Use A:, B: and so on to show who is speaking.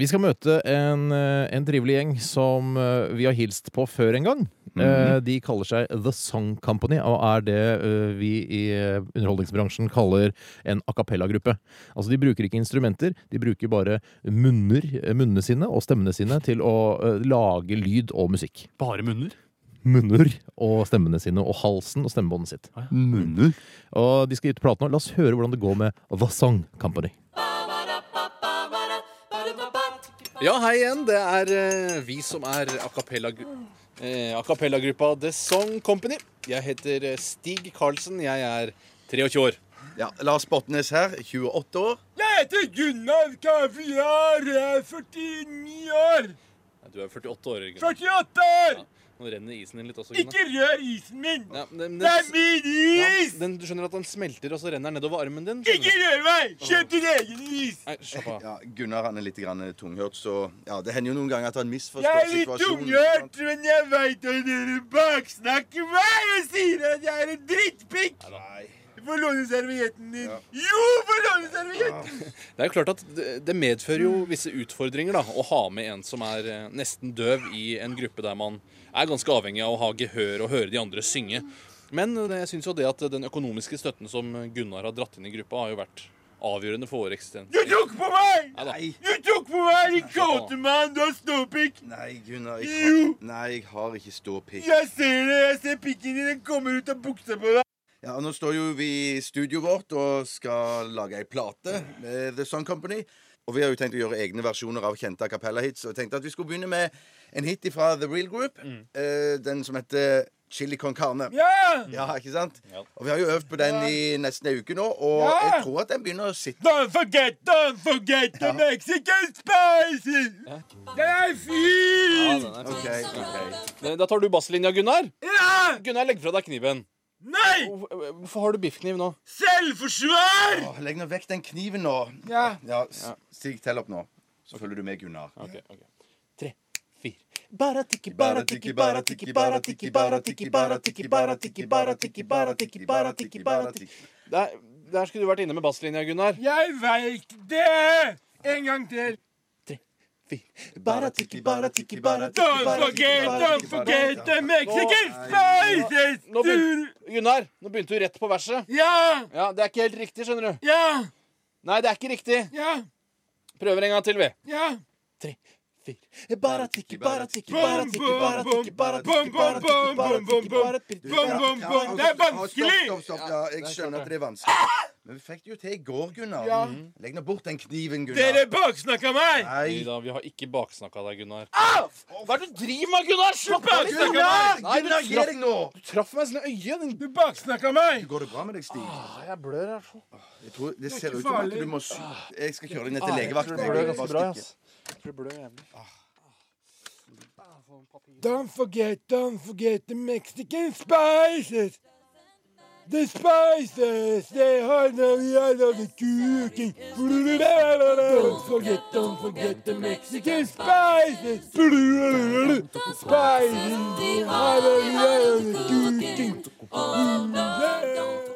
A: Vi skal møte en, eh, en trivelig gjeng som eh, vi har hilst på før en gang. Eh, De kaller seg The Song Company, og er det eh, vi i eh, underholdningsbransjen kaller en a cappella-gruppe. Altså, de bruker ikke instrumenter, de bruker bare munner, eh, munnene sine og stemmene sine til å eh, lage lyd og musikk.
B: Bare munner?
A: Munner og stemmene sine, og halsen og stemmebåndet sitt.
C: Munner.
A: Og de skal gi ut plate nå. La oss høre hvordan det går med The Song Company.
B: Ja, hei igjen. Det er eh, vi som er a eh, cappella-gruppa The Song Company. Jeg heter eh, Stig Karlsen. Jeg er 23 år.
C: Ja, Lars Botnes her, 28 år.
B: Nei, Du er 48 år. 48 år! Ja, nå renner isen din litt også. Ikke rør isen min! Ja, men den, det er min is! Ja, den, du skjønner at den smelter, og så renner den nedover armen din? Ikke rør meg! Kjøp din egen is! Nei, slapp av.
C: Ja, Gunnar han er litt grann eh, tunghørt, så ja, det hender jo noen ganger at han misforstår situasjonen. Jeg er litt tunghørt! Nei.
B: Det er jo klart at det- det medfører jo visse utfordringer da, å ha med en som er eh, nesten døv i en gruppe der man er ganske avhengig av å ha gehør og høre de andre synge. Men eh, jeg syns jo det at den økonomiske støtten som Gunnar har dratt inn i gruppa, har jo vært avgjørende for vår eksistens. Du tok på meg! Nei,
C: Nei,
D: Du tok på meg, din
B: kåte
D: mann! Du har ståpikk!
C: nei, Gunnar. Jeg
D: Jo.
C: har, nei, jeg har ikke ståpikk.
D: Jeg ser det! Jeg ser pikken din! Den kommer ut av buksa på deg!
C: Ja, og Nå står jo vi i studioet vårt og skal lage ei plate med The Song Company. Og vi har jo tenkt å gjøre egne versjoner av kjente a cappella-hits. Og jeg tenkte at vi skulle begynne med en hit fra The Real Group. eh, den som heter Chili Con Carne.
D: Ja!
C: Ja, ikke sant?
B: Ja.
C: Og vi har jo øvd på den i nesten ei uke nå, og
D: Ja.
C: jeg tror at den begynner å sitte.
D: Don't forget, don't forget the Mexican spices! Den er
B: ja,
D: fin!
B: den er
C: Ok, ok.
B: fin. Da tar du basslinja, Gunnar.
D: Ja!
B: Gunnar, legg fra deg kniven.
D: Nei!
B: Hvor- eh, Hvorfor har du biffkniv nå?
D: Selvforsvar!
C: Åh, legg nå vekk den kniven nå.
D: Ja.
C: Ja, s- Stig, tell opp nå. Så følger du med, Gunnar.
B: Ok, ok. Tre, fire. Bara tiki, bara tiki, bara tiki, bara tiki, bara tiki, bara tiki, bara tiki, bara tiki, bara tiki, bara tiki, bara tiki. Der, der skulle du vært inne med basslinja, Gunnar.
D: Jeg veit det! En gang til.
B: Bara tiki, bara tiki, bara
D: Don't
B: bara
D: forget,
B: bara
D: don't forget the Mexican
B: Nå-
D: spices!
B: Nå begynte, Gunnar, nå begynte du rett på verset.
D: Ja!
B: Ja, Det er ikke helt riktig, skjønner du.
D: Ja!
B: Nei, det er ikke riktig.
D: Ja!
B: Prøver en gang til, vi.
D: Ja!
B: Tre, fire. Bara tiki, bara tiki, bara
D: Bom,
B: tiki, bara
D: bom,
B: tiki,
D: bom,
B: bara
D: bom,
B: tiki,
D: bom, bom,
B: bara tiki, bara
D: bom, bom,
B: tiki, bara
D: bom.
B: tiki.
D: Bom, bom, bom. Det er vanskelig!
C: Stopp, stopp, stopp. Ja, jeg skjønner at det er vanskelig. Men vi fikk det jo til i går, Gunnar.
D: Ja.
C: Mhm. Legg nå bort den kniven,
D: Dere
C: Gunnar.
D: baksnakka meg!
B: Nei
C: Nei.
B: da, vi har ikke baksnakka deg, Gunnar. Hva er det du driver med, Gunnar? Slapp av!
D: Gunnar!
B: snakker meg! Nei,
C: Gunnar,
B: du
C: gi
B: traff,
C: deg nå!
B: du traff meg i sånne øye. Din...
D: Du baksnakka meg!
C: Går det bra med deg, Stig?
B: Ah, jeg blør her. så.
C: Jeg tror det ser
D: ikke
C: ut som at
D: farlig.
C: du må sy... Jeg skal kjøre deg ned
B: Ah,
C: til
B: jeg tror
C: legevakten.
B: du
C: jeg.
B: blør
C: Bare
B: ganske bra,
C: stikke.
B: ass. Jeg tror du blør jævlig.
D: Don't forget, don't forget the Mexican spices. The spices, they hide the out of the cooking. Don't forget, don't forget the Mexican spices. Spices, they hide the out of the cooking.